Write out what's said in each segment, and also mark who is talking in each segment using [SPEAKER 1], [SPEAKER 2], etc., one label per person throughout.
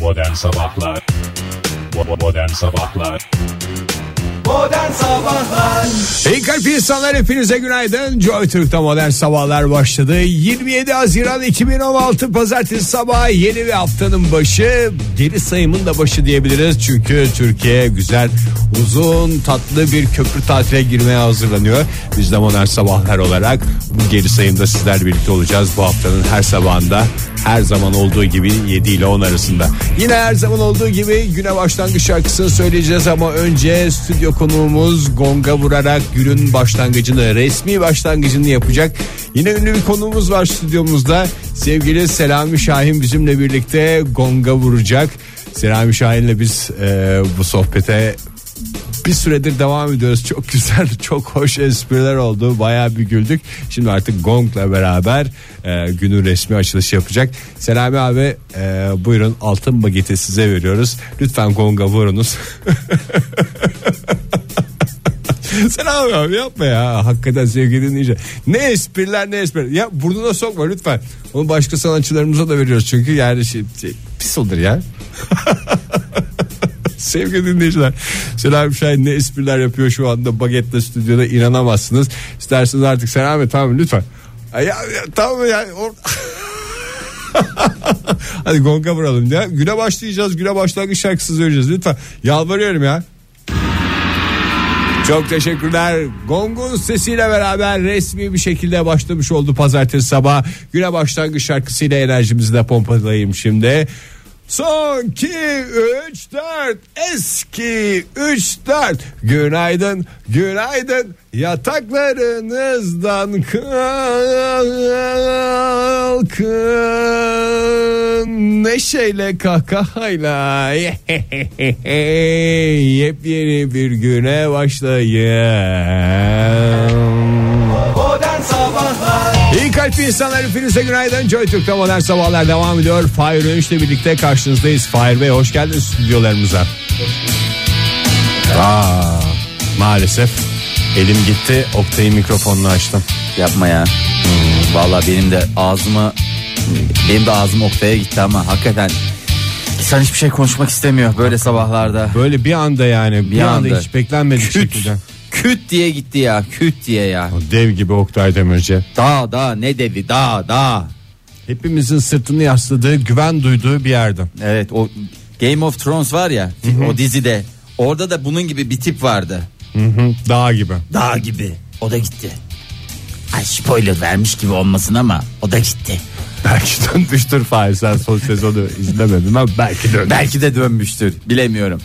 [SPEAKER 1] Modern Sabahlar Bo- Modern Sabahlar
[SPEAKER 2] İyi kalp insanlar hepinize günaydın. Joy Türk'te modern sabahlar başladı. 27 Haziran 2016 Pazartesi sabahı yeni bir haftanın başı. Geri sayımın da başı diyebiliriz. Çünkü Türkiye güzel, uzun, tatlı bir köprü tatile girmeye hazırlanıyor. Biz de modern sabahlar olarak bu geri sayımda sizlerle birlikte olacağız. Bu haftanın her sabahında her zaman olduğu gibi 7 ile 10 arasında. Yine her zaman olduğu gibi güne başlangıç şarkısını söyleyeceğiz ama önce stüdyo konuğumuz gonga vurarak günün başlangıcını, resmi başlangıcını yapacak. Yine ünlü bir konuğumuz var stüdyomuzda. Sevgili Selami Şahin bizimle birlikte gonga vuracak. Selami Şahin'le biz e, bu sohbete bir süredir devam ediyoruz. Çok güzel, çok hoş espriler oldu. Bayağı bir güldük. Şimdi artık Gong'la beraber e, günün resmi açılışı yapacak. Selami abi e, buyurun altın bageti size veriyoruz. Lütfen Gong'a vurunuz. Selami abi yapma ya. Hakikaten sevgili dinleyici. Ne espriler ne espriler. Ya burnuna sokma lütfen. Onu başka sanatçılarımıza da veriyoruz. Çünkü yani şey, şey, pis olur ya. Sevgili dinleyiciler Selam Şahin ne espriler yapıyor şu anda bagetle stüdyoda inanamazsınız. İsterseniz artık Selami tamam lütfen. Ay Ya, ya, tamam ya. or- Hadi gonga vuralım ya. Güne başlayacağız. Güne başlangıç şarkısı söyleyeceğiz lütfen. Yalvarıyorum ya. Çok teşekkürler. Gong'un sesiyle beraber resmi bir şekilde başlamış oldu pazartesi sabah. Güne başlangıç şarkısıyla enerjimizi de pompalayayım şimdi. Son 2 3 4 eski 3 4 günaydın günaydın yataklarınızdan kalkın neşeyle kahkahayla yepyeni bir güne başlayın. İyi kalpli insanlar hepinize günaydın. Joy Türk'te modern sabahlar devam ediyor. Fahir Önüş'le birlikte karşınızdayız. Fahir Bey hoş geldiniz stüdyolarımıza. Aa, maalesef elim gitti. Oktay'ı mikrofonla açtım.
[SPEAKER 3] Yapma ya. Vallahi benim de ağzıma benim de ağzım Oktay'a gitti ama hakikaten insan hiçbir şey konuşmak istemiyor böyle sabahlarda.
[SPEAKER 2] Böyle bir anda yani bir, anda,
[SPEAKER 3] anda.
[SPEAKER 2] hiç beklenmedik
[SPEAKER 3] Küt.
[SPEAKER 2] şekilde.
[SPEAKER 3] Küt diye gitti ya. Küt diye ya.
[SPEAKER 2] O Dev gibi Oktay Demirci.
[SPEAKER 3] Dağ dağ ne dedi dağ dağ.
[SPEAKER 2] Hepimizin sırtını yasladığı, güven duyduğu bir yerde.
[SPEAKER 3] Evet o Game of Thrones var ya o dizide. Orada da bunun gibi bir tip vardı.
[SPEAKER 2] Hı hı, Dağ gibi.
[SPEAKER 3] Dağ gibi. O da gitti. Ay spoiler vermiş gibi olmasın ama o da gitti.
[SPEAKER 2] Belki dönmüştür Fahir sen son sezonu izlemedin ama belki dönmüş.
[SPEAKER 3] Belki de dönmüştür. Bilemiyorum.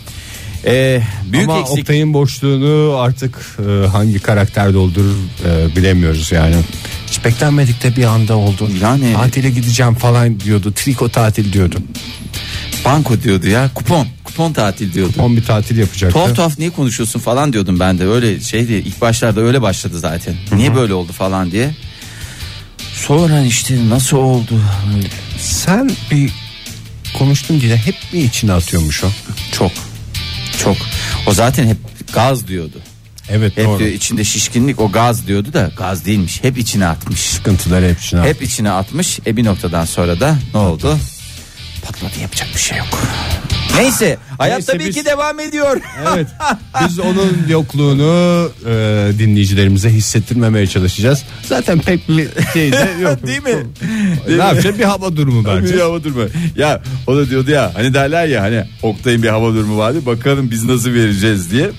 [SPEAKER 3] Ee, büyük
[SPEAKER 2] Ama
[SPEAKER 3] eksik.
[SPEAKER 2] Oktay'ın boşluğunu artık e, hangi karakter doldurur e, bilemiyoruz yani. Hiç beklenmedik de bir anda oldu.
[SPEAKER 3] Yani-
[SPEAKER 2] Tatile gideceğim falan diyordu. Triko tatil diyordu.
[SPEAKER 3] Banko diyordu ya kupon kupon tatil diyordu.
[SPEAKER 2] On bir tatil yapacaktı.
[SPEAKER 3] Tuhaf tuhaf niye konuşuyorsun falan diyordum ben de öyle şeydi ilk başlarda öyle başladı zaten. Niye böyle oldu falan diye. Sonra işte nasıl oldu?
[SPEAKER 2] Sen bir konuştun diye hep mi içine atıyormuş o?
[SPEAKER 3] Çok çok. O zaten hep gaz diyordu.
[SPEAKER 2] Evet
[SPEAKER 3] Hep
[SPEAKER 2] doğru.
[SPEAKER 3] diyor içinde şişkinlik o gaz diyordu da gaz değilmiş. Hep içine atmış.
[SPEAKER 2] Sıkıntıları hep içine
[SPEAKER 3] Hep içine atmış. E bir noktadan sonra da ne oldu? Patladı yapacak bir şey yok. Neyse hayat
[SPEAKER 2] Neyse,
[SPEAKER 3] tabii
[SPEAKER 2] biz-
[SPEAKER 3] ki devam ediyor.
[SPEAKER 2] Evet. Biz onun yokluğunu e, dinleyicilerimize hissettirmemeye çalışacağız. Zaten pek bir şey de yok.
[SPEAKER 3] Değil mi?
[SPEAKER 2] ne yapacağız? Bir hava durumu bence.
[SPEAKER 3] Bir hava durumu. Ya o da diyordu ya hani derler ya hani Oktay'ın bir hava durumu vardı bakalım biz nasıl vereceğiz diye.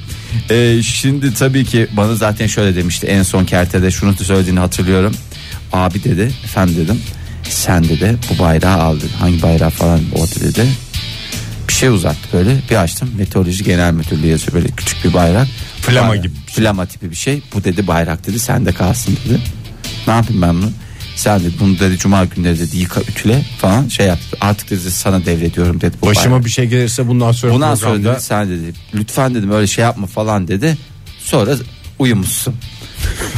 [SPEAKER 3] Ee, şimdi tabii ki bana zaten şöyle demişti en son kertede şunu da söylediğini hatırlıyorum. Abi dedi efendim dedim sen dedi bu bayrağı aldın hangi bayrağı falan o dedi. Bir şey uzattı böyle bir açtım meteoroloji genel müdürlüğü yazıyor böyle küçük bir bayrak.
[SPEAKER 2] Flama
[SPEAKER 3] Bayrak-
[SPEAKER 2] gibi
[SPEAKER 3] Flama tipi bir şey. Bu dedi bayrak dedi sende kalsın dedi. Ne yapayım ben bunu? Sen dedi bunu dedi cuma günleri dedi yıka ütüle falan şey yaptı. Artık dedi sana devrediyorum dedi. Bu bayrağı.
[SPEAKER 2] Başıma bir şey gelirse bundan sonra
[SPEAKER 3] Bundan sonra
[SPEAKER 2] programda
[SPEAKER 3] dedi, sen dedi lütfen dedim öyle şey yapma falan dedi. Sonra uyumuşsun.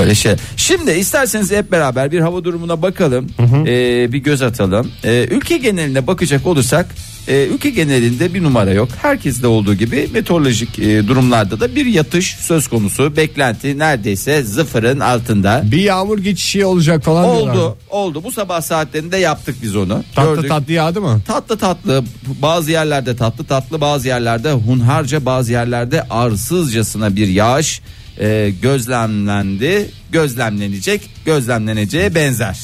[SPEAKER 3] öyle şey. Şimdi isterseniz hep beraber bir hava durumuna bakalım. Ee, bir göz atalım. Ee, ülke geneline bakacak olursak E, ülke genelinde bir numara yok. Herkeste olduğu gibi meteorolojik e, durumlarda da bir yatış söz konusu. Beklenti neredeyse sıfırın altında.
[SPEAKER 2] Bir yağmur geçişi olacak falan diyorlar.
[SPEAKER 3] Oldu, oldu. Bu sabah saatlerinde yaptık biz onu.
[SPEAKER 2] Tatlı
[SPEAKER 3] Gördük.
[SPEAKER 2] tatlı yağdı mı?
[SPEAKER 3] Tatlı tatlı bazı yerlerde tatlı tatlı bazı yerlerde hunharca bazı yerlerde arsızcasına bir yağış e, gözlemlendi gözlemlenecek gözlemleneceğe benzer.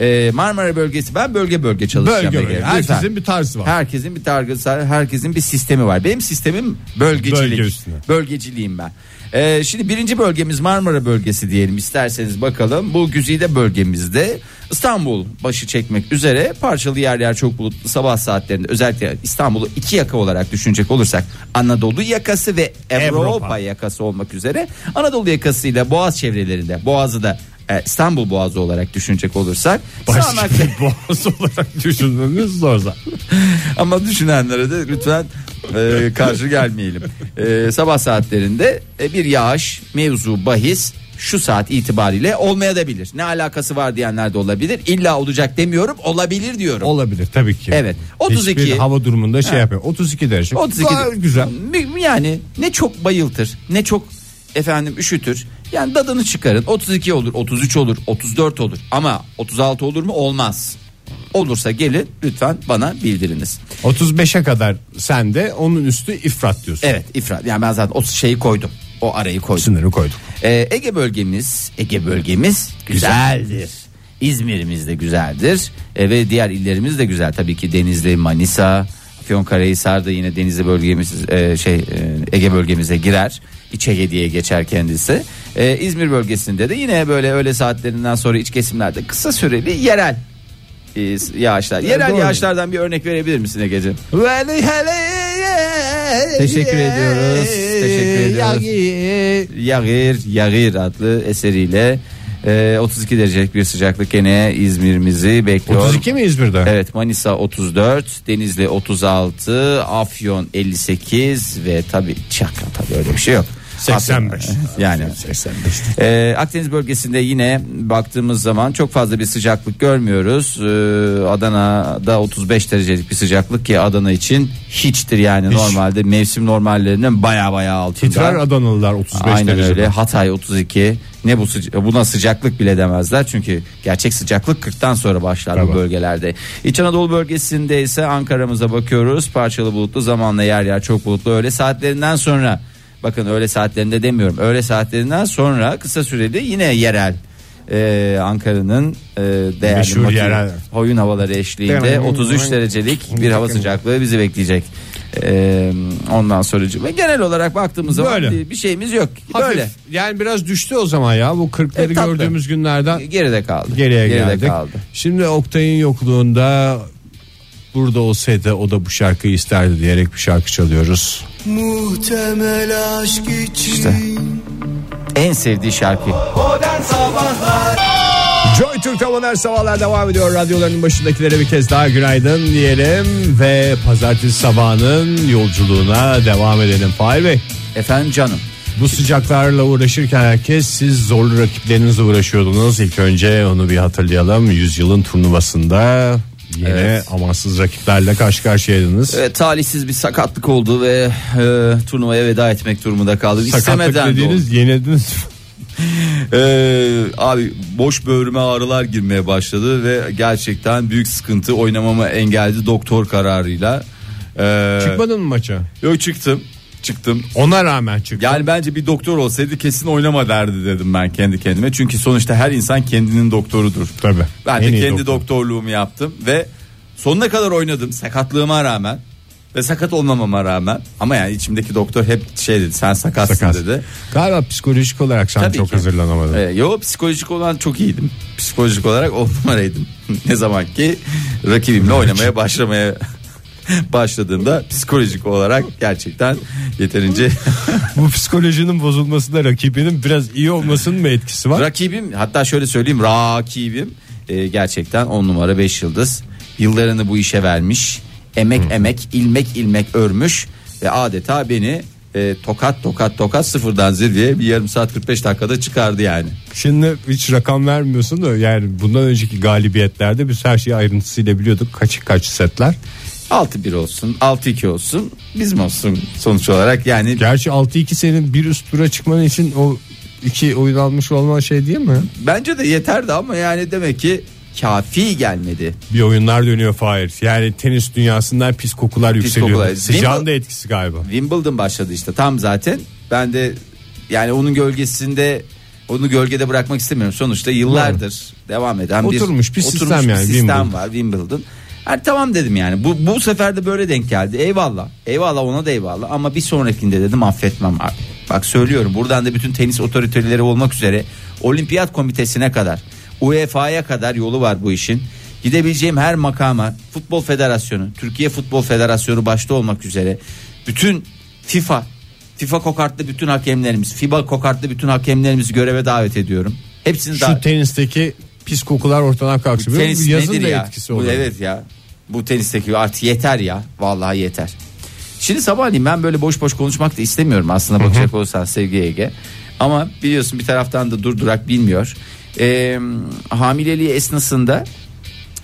[SPEAKER 3] E, Marmara bölgesi ben bölge bölge çalışacağım.
[SPEAKER 2] Bölge
[SPEAKER 3] Ege.
[SPEAKER 2] bölge.
[SPEAKER 3] Her-
[SPEAKER 2] Sizin bir tarzı var.
[SPEAKER 3] Herkesin bir targısı, herkesin bir sistemi var. Benim sistemim bölgecilik.
[SPEAKER 2] Bölge üstüne.
[SPEAKER 3] Bölgeciliğim ben. Ee, şimdi birinci bölgemiz Marmara bölgesi diyelim isterseniz bakalım. Bu güzide bölgemizde İstanbul başı çekmek üzere parçalı yer yer çok bulutlu sabah saatlerinde özellikle İstanbul'u iki yaka olarak düşünecek olursak Anadolu yakası ve Avrupa,
[SPEAKER 2] Avrupa.
[SPEAKER 3] yakası olmak üzere Anadolu yakasıyla Boğaz çevrelerinde Boğaz'ı da e, İstanbul Boğazı olarak düşünecek olursak
[SPEAKER 2] Başka
[SPEAKER 3] sağanak-
[SPEAKER 2] bir boğaz olarak düşünmemiz zor zaten.
[SPEAKER 3] Ama düşünenlere de lütfen e, karşı gelmeyelim. E, sabah saatlerinde e, bir yağış mevzu bahis şu saat itibariyle olmayabilir. Ne alakası var diyenler de olabilir. İlla olacak demiyorum olabilir diyorum.
[SPEAKER 2] Olabilir tabii ki.
[SPEAKER 3] Evet. 32
[SPEAKER 2] Hiçbir hava durumunda şey yapıyor. 32 derece.
[SPEAKER 3] 32
[SPEAKER 2] Gayet güzel.
[SPEAKER 3] Mi- Yani ne çok bayıltır, ne çok efendim üşütür. Yani dadını çıkarın. 32 olur, 33 olur, 34 olur. Ama 36 olur mu? Olmaz. Olursa gelin lütfen bana bildiriniz.
[SPEAKER 2] 35'e kadar sende onun üstü ifrat diyorsun.
[SPEAKER 3] Evet ifrat. Yani ben zaten o şeyi koydum. O arayı koydum.
[SPEAKER 2] Sınırı koyduk.
[SPEAKER 3] Ee, Ege bölgemiz, Ege bölgemiz güzeldir. İzmir'imiz de güzeldir Ee, ve diğer illerimiz de güzel. Tabii ki Denizli, Manisa, Afyonkarahisar da yine Denizli bölgemiz e, şey e, Ege bölgemize girer. İç Ege diye geçer kendisi. Ee, İzmir bölgesinde de yine böyle öğle saatlerinden sonra iç kesimlerde kısa süreli yerel e, yağışlar. Yerel
[SPEAKER 2] doğru.
[SPEAKER 3] yağışlardan bir örnek verebilir misin Ege'ciğim?
[SPEAKER 2] Teşekkür
[SPEAKER 3] ediyoruz, teşekkür Yağır Yağır adlı eseriyle e, 32 derecelik bir sıcaklık gene İzmir'imizi bekliyor.
[SPEAKER 2] 32 mi İzmir'de?
[SPEAKER 3] Evet Manisa 34, Denizli 36, Afyon 58 ve tabi Çakra tabi öyle bir şey yok.
[SPEAKER 2] 85.
[SPEAKER 3] Afyon, yani e, Akdeniz bölgesinde yine baktığımız zaman çok fazla bir sıcaklık görmüyoruz. E, Adana'da 35 derecelik bir sıcaklık ki Adana için hiçtir yani normalde mevsim normallerinin baya baya altında.
[SPEAKER 2] Titrer Adanalılar 35
[SPEAKER 3] Aynen
[SPEAKER 2] derece.
[SPEAKER 3] öyle. Hatay 32. Ne bu sıca- buna sıcaklık bile demezler. Çünkü gerçek sıcaklık 40'tan sonra başlar bu
[SPEAKER 2] Bravo.
[SPEAKER 3] bölgelerde. İç Anadolu bölgesinde ise Ankara'mıza bakıyoruz. Parçalı bulutlu zamanla yer yer çok bulutlu öğle saatlerinden sonra bakın öğle saatlerinde demiyorum. Öğle saatlerinden sonra kısa süreli yine yerel e, Ankara'nın e, değerli
[SPEAKER 2] Meşhur
[SPEAKER 3] motivi-
[SPEAKER 2] yerel.
[SPEAKER 3] oyun havaları eşliğinde 33 derecelik bir hava sıcaklığı bizi bekleyecek. E, ondan sonra genel olarak baktığımız zaman
[SPEAKER 2] Böyle.
[SPEAKER 3] bir- bir şeyimiz yok.
[SPEAKER 2] Hafif.
[SPEAKER 3] Böyle
[SPEAKER 2] Yani biraz düştü o zaman ya. Bu 40'ları
[SPEAKER 3] E, tatlı.
[SPEAKER 2] gördüğümüz günlerden
[SPEAKER 3] geride kaldı.
[SPEAKER 2] geriye geldik.
[SPEAKER 3] kaldı.
[SPEAKER 2] Şimdi Oktay'ın yokluğunda burada olsaydı o da bu şarkıyı isterdi diyerek bir şarkı çalıyoruz.
[SPEAKER 4] Muhtemel aşk için
[SPEAKER 3] En sevdiği şarkı.
[SPEAKER 2] Joy Türk'te modern sabahlar devam ediyor. Radyoların başındakilere bir kez daha günaydın diyelim ve pazartesi sabahının yolculuğuna devam edelim. Fahir Bey
[SPEAKER 3] Efendim canım.
[SPEAKER 2] bu sıcaklarla uğraşırken herkes siz zorlu rakiplerinizle uğraşıyordunuz. İlk önce onu bir hatırlayalım. Yüzyılın turnuvasında yine
[SPEAKER 3] Evet.
[SPEAKER 2] amansız rakiplerle karşı karşıyaydınız.
[SPEAKER 3] Evet, talihsiz bir sakatlık oldu ve e, turnuvaya veda etmek durumunda kaldım.
[SPEAKER 2] Sakatlık
[SPEAKER 3] İstemeden de oldu.
[SPEAKER 2] dediğiniz yenildiniz.
[SPEAKER 3] E, abi boş böğrüme ağrılar girmeye başladı ve gerçekten büyük sıkıntı oynamama engeldi doktor kararıyla. E,
[SPEAKER 2] Çıkmadın mı maça?
[SPEAKER 3] Yok çıktım. Çıktım.
[SPEAKER 2] Ona rağmen çıktın.
[SPEAKER 3] Yani bence bir doktor olsaydı kesin oynama derdi dedim ben kendi kendime. Çünkü sonuçta her insan kendinin doktorudur.
[SPEAKER 2] Tabii.
[SPEAKER 3] Ben
[SPEAKER 2] En
[SPEAKER 3] de
[SPEAKER 2] iyi
[SPEAKER 3] kendi
[SPEAKER 2] doktor.
[SPEAKER 3] doktorluğumu yaptım ve sonuna kadar oynadım sakatlığıma rağmen ve sakat olmamama rağmen ama yani içimdeki doktor hep şey dedi sen sakatsın
[SPEAKER 2] Sakat.
[SPEAKER 3] dedi.
[SPEAKER 2] Galiba psikolojik olarak sen
[SPEAKER 3] Tabii
[SPEAKER 2] çok
[SPEAKER 3] ki.
[SPEAKER 2] hazırlanamadın.
[SPEAKER 3] Ee, yo psikolojik olan çok iyiydim. Psikolojik olarak on numaraydım. ne zaman ki rakibimle oynamaya başlamaya başladığımda psikolojik olarak gerçekten yeterince
[SPEAKER 2] Bu psikolojinin bozulmasında rakibinin biraz iyi olmasının mı etkisi var?
[SPEAKER 3] Rakibim hatta şöyle söyleyeyim rakibim e, gerçekten 10 numara 5 yıldız. Yıllarını bu işe vermiş. Emek emek ilmek ilmek örmüş ve adeta beni e, tokat tokat tokat sıfırdan zirveye bir yarım saat 45 dakikada çıkardı yani.
[SPEAKER 2] Şimdi hiç rakam vermiyorsun da yani bundan önceki galibiyetlerde biz her şeyi ayrıntısıyla biliyorduk. Kaç kaç setler.
[SPEAKER 3] 6-1 olsun 6-2 olsun bizim olsun sonuç olarak yani
[SPEAKER 2] Gerçi 6-2 senin bir üst tura çıkman için o iki oyun almış olman şey değil mi?
[SPEAKER 3] bence de yeterdi ama yani demek ki kafi gelmedi.
[SPEAKER 2] Bir oyunlar dönüyor Fahir. Yani tenis dünyasından pis kokular yükseliyor.
[SPEAKER 3] kokular.
[SPEAKER 2] Sıcağın
[SPEAKER 3] Wimbledon-
[SPEAKER 2] da etkisi galiba.
[SPEAKER 3] Wimbledon başladı işte tam zaten ben de yani onun gölgesinde onu gölgede bırakmak istemiyorum sonuçta yıllardır devam eden bir
[SPEAKER 2] Oturmuş bir sistem yani
[SPEAKER 3] sistem
[SPEAKER 2] Wimbledon.
[SPEAKER 3] var Wimbledon. Yani tamam dedim yani bu bu sefer de böyle denk geldi eyvallah eyvallah ona da eyvallah ama bir sonrakinde dedim affetmem abi. Bak söylüyorum buradan da bütün tenis otoriteleri olmak üzere olimpiyat komitesine kadar UEFA'ya kadar yolu var bu işin. Gidebileceğim her makama Futbol Federasyonu, Türkiye Futbol Federasyonu başta olmak üzere bütün FIFA, FIFA kokartlı bütün hakemlerimiz, FIBA kokartlı bütün hakemlerimizi göreve davet ediyorum. Hepsini
[SPEAKER 2] Şu
[SPEAKER 3] davet
[SPEAKER 2] tenisteki pis kokular ortadan kalksın. Bu
[SPEAKER 3] tenis
[SPEAKER 2] yazın
[SPEAKER 3] nedir
[SPEAKER 2] da
[SPEAKER 3] ya?
[SPEAKER 2] etkisi
[SPEAKER 3] Bu
[SPEAKER 2] olur.
[SPEAKER 3] evet ya. Bu tenisteki artık yeter ya. Vallahi yeter. Şimdi sabahleyin ben böyle boş boş konuşmak da istemiyorum aslında bakacak olursan sevgili Ege. Ama biliyorsun bir taraftan da durdurak bilmiyor. Ee, hamileliği esnasında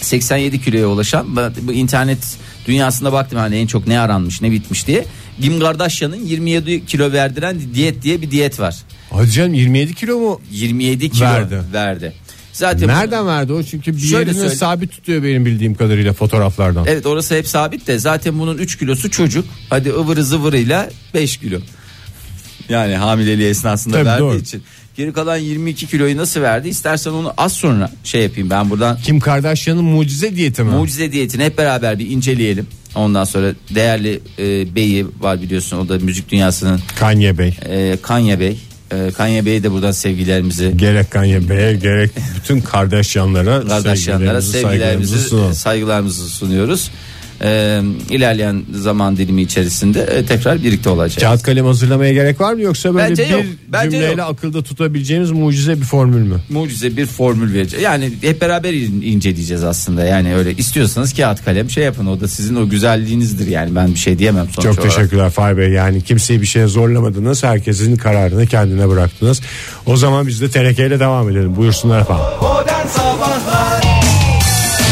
[SPEAKER 3] 87 kiloya ulaşan ben bu internet dünyasında baktım hani en çok ne aranmış ne bitmiş diye. Kim Kardashian'ın 27 kilo verdiren diyet diye bir diyet var.
[SPEAKER 2] Hadi canım 27 kilo mu?
[SPEAKER 3] 27 kilo verdi.
[SPEAKER 2] Verdi.
[SPEAKER 3] Zaten
[SPEAKER 2] Nereden verdi o? Çünkü bir
[SPEAKER 3] Şöyle E-
[SPEAKER 2] yerini
[SPEAKER 3] söyle-
[SPEAKER 2] sabit tutuyor benim bildiğim kadarıyla fotoğraflardan.
[SPEAKER 3] Evet orası hep sabit de zaten bunun 3 kilosu çocuk. Hadi ıvırı zıvırıyla 5 kilo. Yani hamileliği esnasında
[SPEAKER 2] Tabii,
[SPEAKER 3] verdiği
[SPEAKER 2] doğru.
[SPEAKER 3] için. Geri kalan 22 kiloyu nasıl verdi? İstersen onu az sonra şey yapayım ben buradan.
[SPEAKER 2] Kim Kardashian'ın mucize diyeti mi?
[SPEAKER 3] Mucize diyetini hep beraber bir inceleyelim. Ondan sonra değerli e, beyi var biliyorsun o da müzik dünyasının
[SPEAKER 2] Kanye Bey.
[SPEAKER 3] e, Kanye Bey. E, Kanye Bey'e de buradan sevgilerimizi
[SPEAKER 2] Gerek Kanye Bey'e gerek bütün Kardashian'lara
[SPEAKER 3] Kardashianlara
[SPEAKER 2] sevgilerimizi, saygılarımızı
[SPEAKER 3] sevgilerimizi,
[SPEAKER 2] sunalım.
[SPEAKER 3] saygılarımızı sunuyoruz. Ee, ilerleyen zaman dilimi içerisinde e, tekrar birlikte olacağız.
[SPEAKER 2] Kağıt kalem hazırlamaya gerek var mı yoksa böyle
[SPEAKER 3] Bence
[SPEAKER 2] bir
[SPEAKER 3] yok, bence
[SPEAKER 2] cümleyle akılda tutabileceğimiz mucize bir formül mü?
[SPEAKER 3] Mucize bir formül vereceğiz. Yani hep beraber in- inceleyeceğiz aslında. Yani öyle istiyorsanız kağıt kalem şey yapın. O da sizin o güzelliğinizdir yani. Ben bir şey diyemem sonuç
[SPEAKER 2] Çok
[SPEAKER 3] olarak.
[SPEAKER 2] teşekkürler Fahir Bey. Yani kimseyi bir şeye zorlamadınız. Herkesin kararını kendine bıraktınız. O zaman biz de tenekeyle devam edelim. Buyursunlar efendim.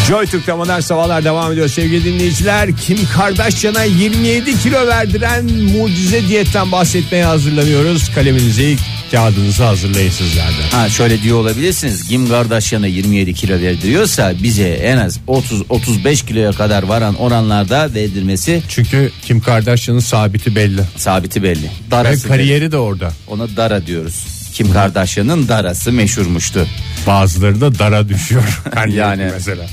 [SPEAKER 5] Joy Türk'te modern sabahlar devam ediyor sevgili dinleyiciler. Kim Kardashian'a 27 kilo verdiren mucize diyetten bahsetmeye hazırlanıyoruz. Kaleminizi, kağıdınızı hazırlayın sizler de.
[SPEAKER 3] Ha şöyle diyor olabilirsiniz. Kim Kardashian'a 27 kilo verdiriyorsa bize en az 30 35 kiloya kadar varan oranlarda verdirmesi
[SPEAKER 2] Çünkü Kim Kardashian'ın sabiti belli.
[SPEAKER 3] sabiti belli.
[SPEAKER 2] Ve
[SPEAKER 3] Darası belli.
[SPEAKER 2] kariyeri de orada.
[SPEAKER 3] Ona Dara diyoruz. Kim Kardashian'ın Darası meşhurmuştu.
[SPEAKER 2] Bazıları da dara düşüyor.
[SPEAKER 3] Yani.
[SPEAKER 2] yani mesela.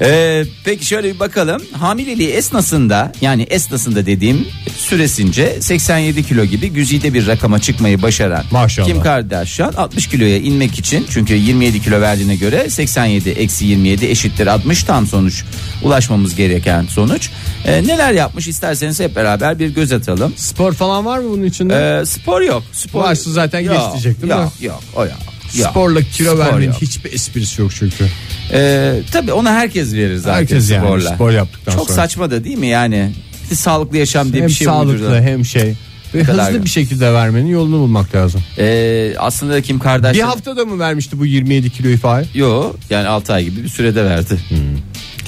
[SPEAKER 3] Ee, peki şöyle bir bakalım. Hamileliği esnasında yani esnasında dediğim süresince 87 kilo gibi güzide bir rakama çıkmayı başaran
[SPEAKER 2] Maşallah.
[SPEAKER 3] Kim Kardashian 60 kiloya inmek için çünkü 27 kilo verdiğine göre 87 eksi 27 eşittir 60 tam sonuç ulaşmamız gereken sonuç. Ee, neler yapmış isterseniz hep beraber bir göz atalım.
[SPEAKER 2] Spor falan var mı bunun içinde?
[SPEAKER 3] Ee, spor yok. Spor
[SPEAKER 2] Varsa zaten
[SPEAKER 3] Yok,
[SPEAKER 2] geç diyecektim
[SPEAKER 3] Yok yok o yok. yok.
[SPEAKER 2] Sporla kilo
[SPEAKER 3] Spor
[SPEAKER 2] vermenin
[SPEAKER 3] yok.
[SPEAKER 2] hiçbir esprisi yok çünkü.
[SPEAKER 3] Ee, tabii ona herkes verir zaten
[SPEAKER 2] Herkes yani,
[SPEAKER 3] sporla.
[SPEAKER 2] spor yaptıktan
[SPEAKER 3] Çok
[SPEAKER 2] sonra.
[SPEAKER 3] saçma da değil mi yani? Bir sağlıklı yaşam diye
[SPEAKER 2] hem
[SPEAKER 3] bir şey
[SPEAKER 2] sağlıklı
[SPEAKER 3] uydurdular.
[SPEAKER 2] hem şey. Ve
[SPEAKER 3] kadar
[SPEAKER 2] hızlı
[SPEAKER 3] yani.
[SPEAKER 2] bir şekilde vermenin yolunu bulmak lazım.
[SPEAKER 3] Ee, aslında Kim Kardashian...
[SPEAKER 2] Bir haftada mı vermişti bu 27 kiloyu Fahir?
[SPEAKER 3] Yo yani 6 ay gibi bir sürede verdi.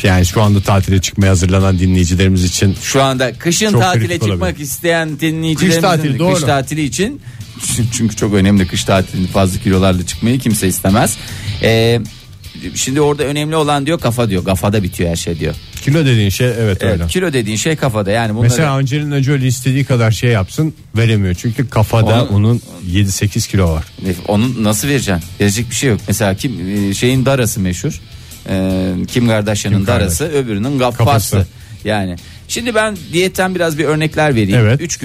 [SPEAKER 2] Yani şu anda tatile çıkmaya hazırlanan dinleyicilerimiz için
[SPEAKER 3] Şu anda kışın
[SPEAKER 2] Çok
[SPEAKER 3] tatile
[SPEAKER 2] kritik
[SPEAKER 3] çıkmak
[SPEAKER 2] olabilir.
[SPEAKER 3] isteyen dinleyicilerimizin
[SPEAKER 2] Kış tatili,
[SPEAKER 3] kış
[SPEAKER 2] doğru.
[SPEAKER 3] tatili için çünkü çok önemli kış tatilini fazla kilolarla çıkmayı kimse istemez. Ee, şimdi orada önemli olan diyor kafa diyor. Kafada bitiyor her şey diyor.
[SPEAKER 2] kilo dediğin şey evet, öyle.
[SPEAKER 3] Evet, kilo dediğin şey kafada yani bunları
[SPEAKER 2] Mesela Angelina Jolie istediği kadar şey yapsın veremiyor. Çünkü kafada
[SPEAKER 3] Onun-
[SPEAKER 2] onun 7-8 kilo var.
[SPEAKER 3] Onu nasıl vereceksin? Verecek bir şey yok. Mesela kim e, şeyin darası meşhur. Ee, Kim Kardashian'ın
[SPEAKER 2] Kim
[SPEAKER 3] darası, öbürünün gaffası.
[SPEAKER 2] Kafası.
[SPEAKER 3] Yani şimdi ben diyetten biraz bir örnekler vereyim.
[SPEAKER 2] Evet.
[SPEAKER 3] 3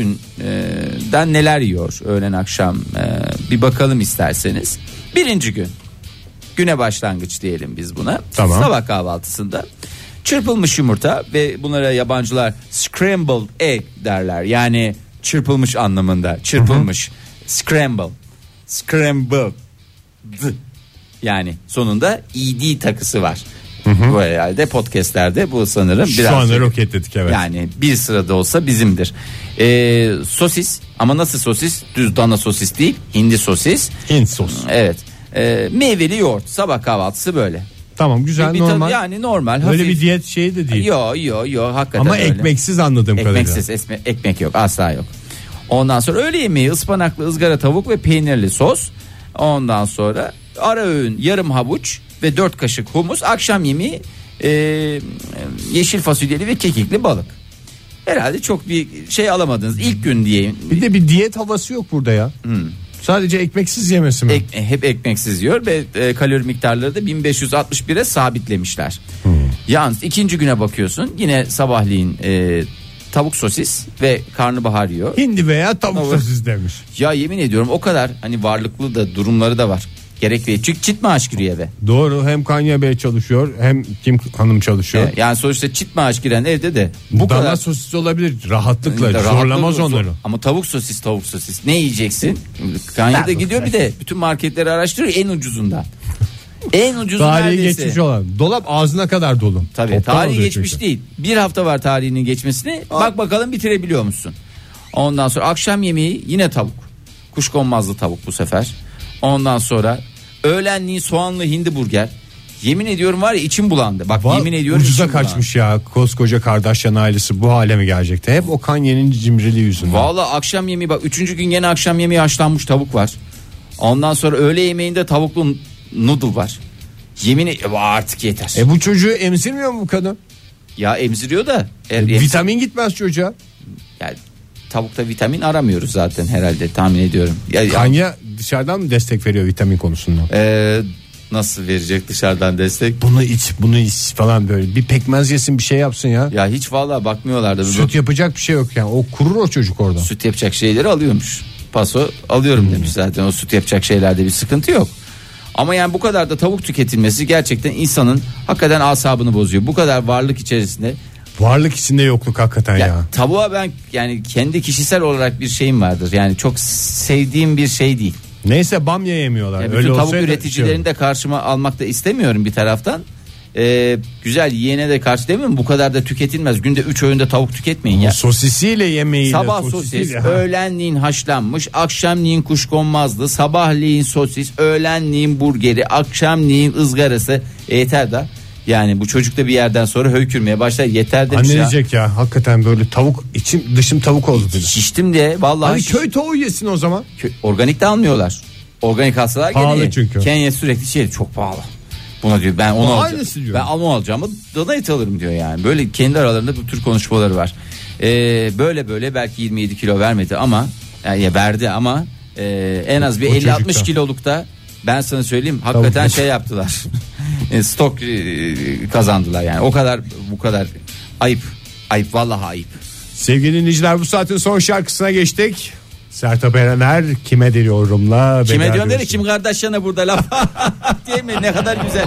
[SPEAKER 3] günden neler yiyor öğlen akşam e, bir bakalım isterseniz. Birinci gün güne başlangıç diyelim biz buna.
[SPEAKER 2] Tamam.
[SPEAKER 3] Sabah kahvaltısında çırpılmış yumurta ve bunlara yabancılar scrambled egg derler. Yani çırpılmış anlamında çırpılmış scramble scrambled yani sonunda ed takısı var. Bu herhalde podcastlerde bu sanırım biraz
[SPEAKER 2] şu anda roketledik evet.
[SPEAKER 3] yani bir sırada olsa bizimdir. Ee, sosis ama nasıl sosis? Düz dana sosis değil, hindi sosis.
[SPEAKER 2] Hint sos.
[SPEAKER 3] Evet. Ee, meyveli yoğurt sabah kahvaltısı böyle.
[SPEAKER 2] Tamam güzel
[SPEAKER 3] Bir tadı
[SPEAKER 2] normal.
[SPEAKER 3] yani normal.
[SPEAKER 2] Öyle
[SPEAKER 3] hafif.
[SPEAKER 2] bir diyet şeyi de değil.
[SPEAKER 3] Yo yo yo hakikaten
[SPEAKER 2] Ama
[SPEAKER 3] öyle.
[SPEAKER 2] ekmeksiz anladığım kadarıyla.
[SPEAKER 3] Ekmeksiz esme- ekmek yok asla yok. Ondan sonra öğle yemeği ıspanaklı ızgara tavuk ve peynirli sos. Ondan sonra ara öğün yarım havuç ve dört kaşık humus. Akşam yemeği e, yeşil fasulyeli ve kekikli balık. Herhalde çok bir şey alamadınız ilk gün diyeyim.
[SPEAKER 2] Bir de bir diyet havası yok burada ya. Sadece ekmeksiz yemesi mi?
[SPEAKER 3] Hmm. Ek- e, hep ekmeksiz yiyor ve e, kalori miktarları da 1561'e sabitlemişler. Yalnız ikinci güne bakıyorsun yine sabahleyin e, tavuk sosis ve karnabahar yiyor.
[SPEAKER 2] Hindi veya tavuk
[SPEAKER 3] Tavuk.
[SPEAKER 2] sosis demiş.
[SPEAKER 3] Ya yemin ediyorum o kadar hani varlıklı da durumları da var. Gerekli. Çünkü çit maaş giriyor eve.
[SPEAKER 2] Doğru hem Kanye Bey çalışıyor hem Kim Hanım çalışıyor.
[SPEAKER 3] Yani sonuçta çit maaş giren evde de
[SPEAKER 2] Bu
[SPEAKER 3] E, bu
[SPEAKER 2] Dana
[SPEAKER 3] kadar
[SPEAKER 2] sosis olabilir rahatlıkla
[SPEAKER 3] Rahatlığı
[SPEAKER 2] zorlamaz
[SPEAKER 3] zor-
[SPEAKER 2] onları.
[SPEAKER 3] Ama tavuk sosis tavuk sosis. Ne yiyeceksin? Kanya'da gidiyor bir de bütün marketleri araştırıyor en ucuzunda. En ucuzu
[SPEAKER 2] Tarihi
[SPEAKER 3] neredeyse.
[SPEAKER 2] geçmiş olan dolap ağzına kadar dolu.
[SPEAKER 3] Tabii
[SPEAKER 2] Toptan
[SPEAKER 3] tarihi
[SPEAKER 2] oluyor
[SPEAKER 3] geçmiş
[SPEAKER 2] çünkü.
[SPEAKER 3] değil. Bir hafta var tarihinin geçmesini. Bak bakalım bitirebiliyor musun? Ondan sonra akşam yemeği yine tavuk. Kuşkonmazlı tavuk bu sefer. Ondan sonra öğlenliği soğanlı hindi burger. Yemin ediyorum var ya içim bulandı. Bak
[SPEAKER 2] Va-
[SPEAKER 3] yemin ediyorum
[SPEAKER 2] ucuza
[SPEAKER 3] içim bulandı.
[SPEAKER 2] kaçmış ya koskoca Kardashian ailesi bu hale mi gelecekti? Hep o Kanye'nin cimriliği yüzünden.
[SPEAKER 3] Valla akşam yemeği bak üçüncü gün yine akşam yemeği haşlanmış tavuk var. Ondan sonra öğle yemeğinde tavuklu n- noodle var. Yemin e, artık yeter.
[SPEAKER 2] E bu çocuğu emzirmiyor mu bu kadın?
[SPEAKER 3] ya emziriyor da. E, em-
[SPEAKER 2] Vitamin gitmez çocuğa.
[SPEAKER 3] Yani tavukta vitamin aramıyoruz zaten herhalde tahmin ediyorum. Ya, ya-
[SPEAKER 2] Kanye dışarıdan mı destek veriyor vitamin konusunda?
[SPEAKER 3] Ee, nasıl verecek dışarıdan destek?
[SPEAKER 2] Bunu iç bunu iç falan böyle bir pekmez yesin bir şey yapsın ya.
[SPEAKER 3] Ya hiç vallahi bakmıyorlardı.
[SPEAKER 2] Süt yapacak bir şey yok yani o kurur o çocuk orada.
[SPEAKER 3] Süt yapacak şeyleri alıyormuş. Paso alıyorum
[SPEAKER 2] Hmm.
[SPEAKER 3] demiş zaten. O süt yapacak şeylerde bir sıkıntı yok. Ama yani bu kadar da tavuk tüketilmesi gerçekten insanın hakikaten asabını bozuyor. Bu kadar varlık içerisinde
[SPEAKER 2] Varlık içinde yokluk hakikaten
[SPEAKER 3] Ya
[SPEAKER 2] ya.
[SPEAKER 3] tavuğa ben yani kendi kişisel olarak bir şeyim vardır. Yani çok sevdiğim bir şey değil.
[SPEAKER 2] Neyse bamya yemiyorlar.
[SPEAKER 3] Ya
[SPEAKER 2] Öyle
[SPEAKER 3] bütün tavuk
[SPEAKER 2] olsaydı
[SPEAKER 3] üreticilerini
[SPEAKER 2] şey
[SPEAKER 3] de karşıma almak da istemiyorum bir taraftan. Ee, güzel yiyene de karşı demiyorum bu kadar da tüketilmez. Günde 3 öğünde tavuk tüketmeyin
[SPEAKER 2] olur.
[SPEAKER 3] ya.
[SPEAKER 2] sosisiyle yemeğiyle
[SPEAKER 3] Sabah
[SPEAKER 2] sosisiyle.
[SPEAKER 3] sosis,
[SPEAKER 2] Ha.
[SPEAKER 3] öğlenliğin haşlanmış, akşamleyin kuşkonmazlı, sabahleyin sosis, öğlenliğin burgeri, akşamleyin ızgarası. E, yeter da. Yani bu çocukta bir yerden sonra höykürmeye başlar. Yeter demiş
[SPEAKER 2] Anne
[SPEAKER 3] ya.
[SPEAKER 2] diyecek ya hakikaten böyle tavuk içim dışım tavuk oldu dedi.
[SPEAKER 3] Şiştim de vallahi
[SPEAKER 2] Hani
[SPEAKER 3] şiş-
[SPEAKER 2] köy tavuğu yesin o zaman.
[SPEAKER 3] Kö- organik de almıyorlar. Organik hastalar
[SPEAKER 2] Pahalı çünkü.
[SPEAKER 3] Kenya sürekli şey çok pahalı. Buna diyor ben onu
[SPEAKER 2] Aynısı
[SPEAKER 3] alacağım.
[SPEAKER 2] diyor.
[SPEAKER 3] Ben onu alacağım ama dana et alırım diyor yani. Böyle kendi aralarında bu tür konuşmaları var. Ee, böyle böyle belki 27 kilo vermedi ama yani ya verdi ama e, en az bir
[SPEAKER 2] O çocukta.
[SPEAKER 3] 50-60 kilolukta ben sana söyleyeyim hakikaten
[SPEAKER 2] Tavuk.
[SPEAKER 3] şey yaptılar. E, Stok e, kazandılar yani. O kadar bu kadar ayıp. Ayıp vallahi ayıp.
[SPEAKER 2] Sevgili dinleyiciler bu saatin son şarkısına geçtik. Sertab Erener kime diyorumla.
[SPEAKER 3] Kime
[SPEAKER 2] veda
[SPEAKER 3] diyorsun
[SPEAKER 2] ediyoruz.
[SPEAKER 3] dedi kim kardeşine burada laf değil mi ne kadar güzel.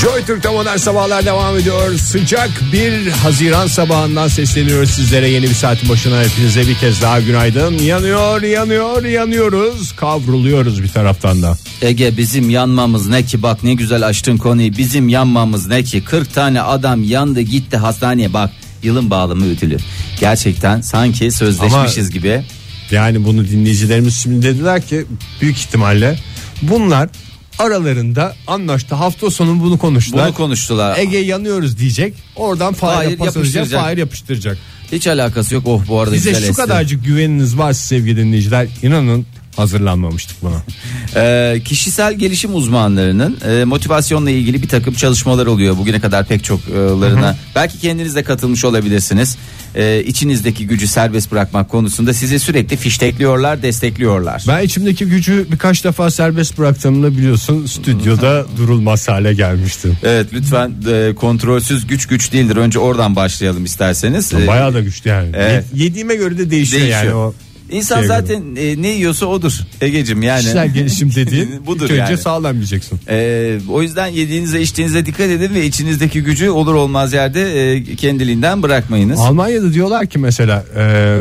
[SPEAKER 2] Joy Türk'te modern sabahlar devam ediyor. Sıcak bir Haziran sabahından sesleniyoruz sizlere. Yeni bir saatin başına hepinize bir kez daha günaydın. Yanıyor, yanıyor, yanıyoruz. Kavruluyoruz bir taraftan da.
[SPEAKER 3] Ege bizim yanmamız ne ki bak ne güzel açtın konuyu bizim yanmamız ne ki 40 tane adam yandı gitti hastaneye bak yılın bağlamı ödülü. Gerçekten sanki sözleşmişiz
[SPEAKER 2] Ama-
[SPEAKER 3] gibi.
[SPEAKER 2] Yani bunu dinleyicilerimiz şimdi dediler ki büyük ihtimalle bunlar aralarında anlaştı. Hafta sonu bunu konuştular.
[SPEAKER 3] Bunu konuştular.
[SPEAKER 2] Ege yanıyoruz diyecek. Oradan Fahir
[SPEAKER 3] Fahir
[SPEAKER 2] yapıştıracak.
[SPEAKER 3] yapıştıracak.
[SPEAKER 2] Fahir yapıştıracak.
[SPEAKER 3] Hiç alakası yok. Oh bu arada
[SPEAKER 2] Bize
[SPEAKER 3] güzel
[SPEAKER 2] şu
[SPEAKER 3] esti.
[SPEAKER 2] kadarcık güveniniz varsa sevgili dinleyiciler inanın hazırlanmamıştık buna.
[SPEAKER 3] Ee, kişisel gelişim uzmanlarının e, motivasyonla ilgili bir takım çalışmalar oluyor. Bugüne kadar pek çoklarına. Belki kendiniz de katılmış olabilirsiniz. Ee, içinizdeki gücü serbest bırakmak konusunda sizi sürekli fiştekliyorlar, destekliyorlar.
[SPEAKER 2] Ben içimdeki gücü birkaç defa serbest bıraktığımda biliyorsun stüdyoda durulmaz hale gelmiştim.
[SPEAKER 3] Evet lütfen e, kontrolsüz güç güç değildir. Önce oradan başlayalım isterseniz. E,
[SPEAKER 2] Bayağı da güçlü yani.
[SPEAKER 3] Evet.
[SPEAKER 2] Ye- Yediğime göre de değişiyor,
[SPEAKER 3] değişiyor.
[SPEAKER 2] yani o.
[SPEAKER 3] İnsan
[SPEAKER 2] şeye göre.
[SPEAKER 3] zaten e, ne yiyorsa odur Egecim yani.
[SPEAKER 2] kişisel gelişim dediğin
[SPEAKER 3] Budur
[SPEAKER 2] ilk önce
[SPEAKER 3] yani.
[SPEAKER 2] sağlam yiyeceksin.
[SPEAKER 3] E, o yüzden yediğinize içtiğinize dikkat edin ve içinizdeki gücü olur olmaz yerde e, kendiliğinden bırakmayınız.
[SPEAKER 2] Almanya'da diyorlar ki mesela e,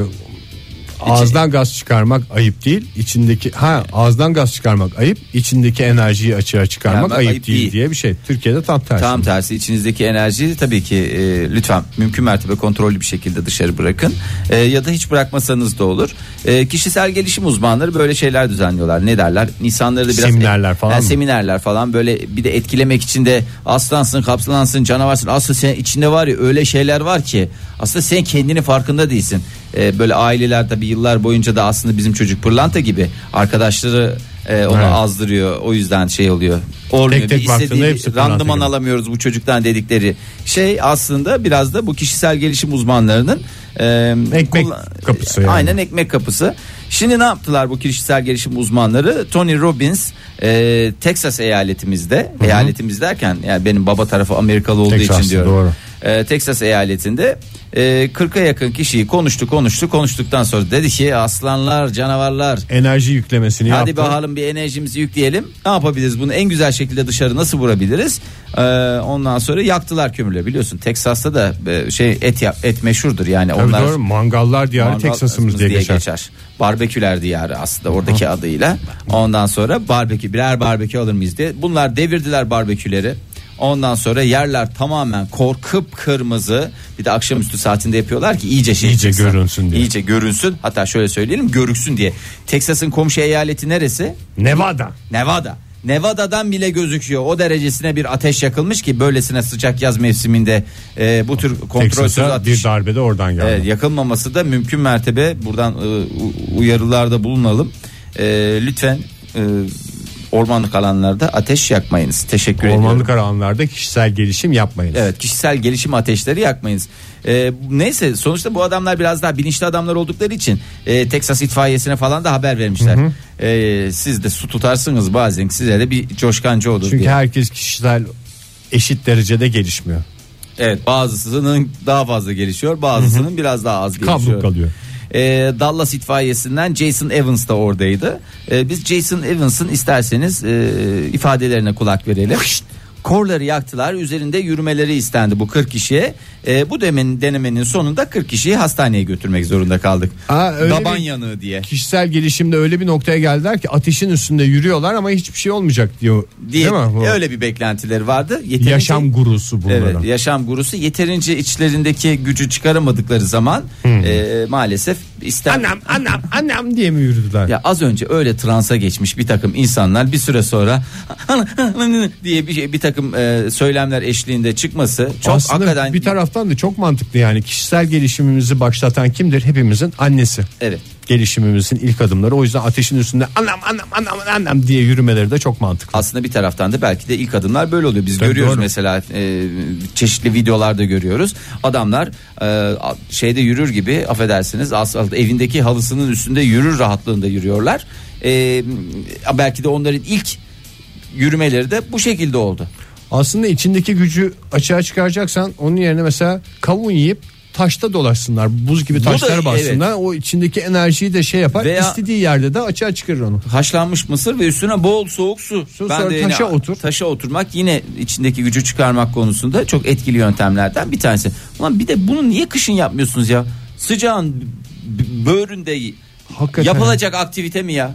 [SPEAKER 2] Ağızdan gaz çıkarmak ayıp değil. İçindeki ha ağızdan gaz çıkarmak ayıp. içindndeki enerjiyi açığa çıkarmak
[SPEAKER 3] Ama
[SPEAKER 2] ayıp,
[SPEAKER 3] ayıp
[SPEAKER 2] değil,
[SPEAKER 3] değil.
[SPEAKER 2] diye bir şey. Türkiye'de tam tersi.
[SPEAKER 3] Tam tersi içinizdeki enerjiyi tabii ki e, lütfen mümkün mertebe kontrollü bir şekilde dışarı bırakın E, ya da hiç bırakmasanız da olur. E, kişisel gelişim uzmanları böyle şeyler düzenliyorlar. Ne derler? İnsanları da biraz
[SPEAKER 2] Seminerler falan
[SPEAKER 3] Yani
[SPEAKER 2] mı?
[SPEAKER 3] seminerler falan böyle bir de etkilemek için de aslansın, kapsılansın, canavarsın. Aslında senin içinde var ya öyle şeyler var ki aslında sen kendini farkında değilsin. E, böyle aileler tabii yıllar boyunca da aslında bizim çocuk pırlanta gibi arkadaşları e, onu azdırıyor. O yüzden şey oluyor. Olmuyor.
[SPEAKER 2] Tek tek
[SPEAKER 3] Bir
[SPEAKER 2] baktığında
[SPEAKER 3] istediği
[SPEAKER 2] hepsi pırlanta
[SPEAKER 3] randıman
[SPEAKER 2] gibi.
[SPEAKER 3] alamıyoruz bu çocuktan dedikleri şey aslında biraz da bu kişisel gelişim uzmanlarının e,
[SPEAKER 2] Ekmek
[SPEAKER 3] kulla-
[SPEAKER 2] kapısı yani.
[SPEAKER 3] Aynen ekmek kapısı. Şimdi ne yaptılar bu kişisel gelişim uzmanları? Tony Robbins e, Texas eyaletimizde, eyaletimiz derken yani benim baba tarafı Amerikalı olduğu
[SPEAKER 2] Texas'ta,
[SPEAKER 3] için diyorum.
[SPEAKER 2] doğru.
[SPEAKER 3] E, Texas eyaletinde e, 40'a yakın kişiyi konuştu, konuştu, konuştuktan sonra dedi ki aslanlar, canavarlar
[SPEAKER 2] Enerji yüklemesini
[SPEAKER 3] Hadi
[SPEAKER 2] yaptı.
[SPEAKER 3] bakalım bir enerjimizi yükleyelim. Ne yapabiliriz bunu en güzel şekilde dışarı nasıl vurabiliriz? Ee, ondan sonra yaktılar kömürle biliyorsun. Texas'ta da e, şey et yap- et meşhurdur yani
[SPEAKER 2] Tabii
[SPEAKER 3] onlar.
[SPEAKER 2] doğru mangallar diyarı
[SPEAKER 3] mangal
[SPEAKER 2] Teksas'ımız diye geçer.
[SPEAKER 3] Barbeküler diyarı aslında oradaki adıyla. Ondan sonra barbekü birer barbekü alır mıyız diye. Bunlar devirdiler barbeküleri. Ondan sonra yerler tamamen korkup kırmızı. Bir de akşamüstü saatinde yapıyorlar ki iyice şey
[SPEAKER 2] İyice
[SPEAKER 3] çıksın.
[SPEAKER 2] görünsün diye.
[SPEAKER 3] İyice görünsün. Hatta şöyle söyleyelim görüksün diye. Texas'ın komşu eyaleti neresi?
[SPEAKER 2] Nevada.
[SPEAKER 3] Nevada. Nevada'dan bile gözüküyor. O derecesine bir ateş yakılmış ki böylesine sıcak yaz mevsiminde e, bu tür kontrolsüz
[SPEAKER 2] Teksas'a bir
[SPEAKER 3] ateş
[SPEAKER 2] darbede oradan geldi.
[SPEAKER 3] Evet, yakılmaması da mümkün mertebe buradan e, u- uyarılarda bulunalım. E, lütfen e, ormanlık alanlarda ateş yakmayınız. Teşekkür ediyorum.
[SPEAKER 2] Ormanlık alanlarda kişisel gelişim yapmayın.
[SPEAKER 3] Evet kişisel gelişim ateşleri yakmayınız. Ee, neyse sonuçta bu adamlar biraz daha bilinçli adamlar oldukları için e, Texas itfaiyesine falan da haber vermişler. Ee, siz de su tutarsınız bazen size de bir coşkancı olur
[SPEAKER 2] Çünkü
[SPEAKER 3] diye.
[SPEAKER 2] herkes kişisel eşit derecede gelişmiyor.
[SPEAKER 3] Evet bazısının daha fazla gelişiyor bazısının biraz daha az gelişiyor.
[SPEAKER 2] Kabluk kalıyor.
[SPEAKER 3] Ee, Dallas itfaiyesinden Jason Evans da oradaydı. Ee, biz Jason Evans'ın isterseniz e, ifadelerine kulak verelim. Korları yaktılar üzerinde yürümeleri istendi bu 40 kişiye. Ee, bu demenin, denemenin sonunda 40 kişiyi hastaneye götürmek zorunda kaldık.
[SPEAKER 2] Aa, öyle
[SPEAKER 3] Daban
[SPEAKER 2] bir-
[SPEAKER 3] yanığı diye.
[SPEAKER 2] Kişisel gelişimde öyle bir noktaya geldiler ki ateşin üstünde yürüyorlar ama hiçbir şey olmayacak diyor.
[SPEAKER 3] diye
[SPEAKER 2] Değil mi? Bu
[SPEAKER 3] öyle bir beklentileri vardı. Yeterince-
[SPEAKER 2] yaşam gurusu bunların.
[SPEAKER 3] Evet, yaşam gurusu yeterince içlerindeki gücü çıkaramadıkları zaman
[SPEAKER 2] Hmm.
[SPEAKER 3] e, maalesef ister
[SPEAKER 2] Anam anam anam diye mi yürüdüler?
[SPEAKER 3] Ya az önce öyle transa geçmiş bir takım insanlar bir süre sonra diye bir, bir takım e, söylemler eşliğinde çıkması çok
[SPEAKER 2] Aslında
[SPEAKER 3] hakikaten
[SPEAKER 2] bir taraftan da çok mantıklı yani kişisel gelişimimizi başlatan kimdir? Hepimizin annesi.
[SPEAKER 3] Evet.
[SPEAKER 2] Gelişimimizin ilk adımları o yüzden ateşin üstünde anam anam anam anam diye yürümeleri de çok mantıklı.
[SPEAKER 3] aslında bir taraftan da belki de ilk adımlar böyle oluyor. Biz
[SPEAKER 2] Tabii
[SPEAKER 3] görüyoruz
[SPEAKER 2] doğru.
[SPEAKER 3] mesela e, çeşitli videolarda görüyoruz. Adamlar e, şeyde yürür gibi affedersiniz asfalt evindeki halısının üstünde yürür rahatlığında yürüyorlar. E, belki de onların ilk yürümeleri de bu şekilde oldu.
[SPEAKER 2] Aslında içindeki gücü açığa çıkaracaksan onun yerine mesela kavun yiyip taşta dolaşsınlar. Buz gibi
[SPEAKER 3] Bu da-
[SPEAKER 2] taşlara bassınlar. O içindeki enerjiyi de şey yapar.
[SPEAKER 3] Veya-
[SPEAKER 2] istediği yerde de açığa çıkarır onu.
[SPEAKER 3] haşlanmış mısır ve üstüne bol soğuk su.
[SPEAKER 2] Su, sonra
[SPEAKER 3] de yine-
[SPEAKER 2] taşa otur.
[SPEAKER 3] Taşa oturmak yine içindeki gücü çıkarmak konusunda çok etkili yöntemlerden bir tanesi. Ulan bir de bunu niye kışın yapmıyorsunuz ya? Sıcağın b- böğründe
[SPEAKER 2] Hakikaten.
[SPEAKER 3] yapılacak aktivite mi ya?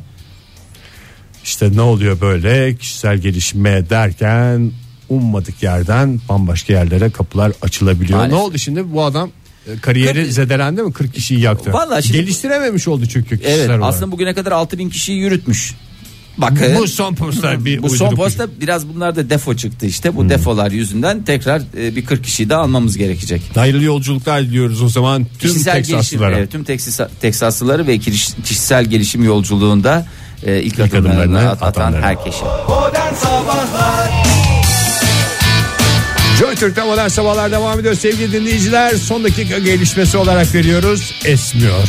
[SPEAKER 2] İşte ne oluyor böyle kişisel gelişme derken ummadık yerden bambaşka yerlere kapılar açılabiliyor.
[SPEAKER 3] Maalesef.
[SPEAKER 2] Ne oldu şimdi bu adam e, kariyeri
[SPEAKER 3] Kırk-
[SPEAKER 2] zedelendi mi 40 kişiyi yaktı.
[SPEAKER 3] Vallahi şimdi-
[SPEAKER 2] Geliştirememiş oldu çünkü kişisel
[SPEAKER 3] Evet
[SPEAKER 2] olarak.
[SPEAKER 3] aslında bugüne kadar 6000 kişiyi yürütmüş. Bakın.
[SPEAKER 2] bu son posta bir şey. Hmm.
[SPEAKER 3] Bu son
[SPEAKER 2] uyduruk
[SPEAKER 3] posta biraz bunlarda defo çıktı işte. Bu defolar yüzünden tekrar e, bir 40 kişiyi daha almamız gerekecek.
[SPEAKER 2] Hayırlı yolculuklar diliyoruz o zaman tüm
[SPEAKER 3] kişisel
[SPEAKER 2] Teksaslılara.
[SPEAKER 3] gelişim, evet, tüm Teksas- Teksaslıları ve kiriş- kişisel gelişim yolculuğunda e, ilk, adımlarını,
[SPEAKER 2] adımlarını
[SPEAKER 3] at- atan
[SPEAKER 2] atanlara.
[SPEAKER 3] herkese.
[SPEAKER 2] Joy Türk'te modern sabahlar devam ediyor sevgili dinleyiciler. Son dakika gelişmesi olarak veriyoruz. Esmiyor.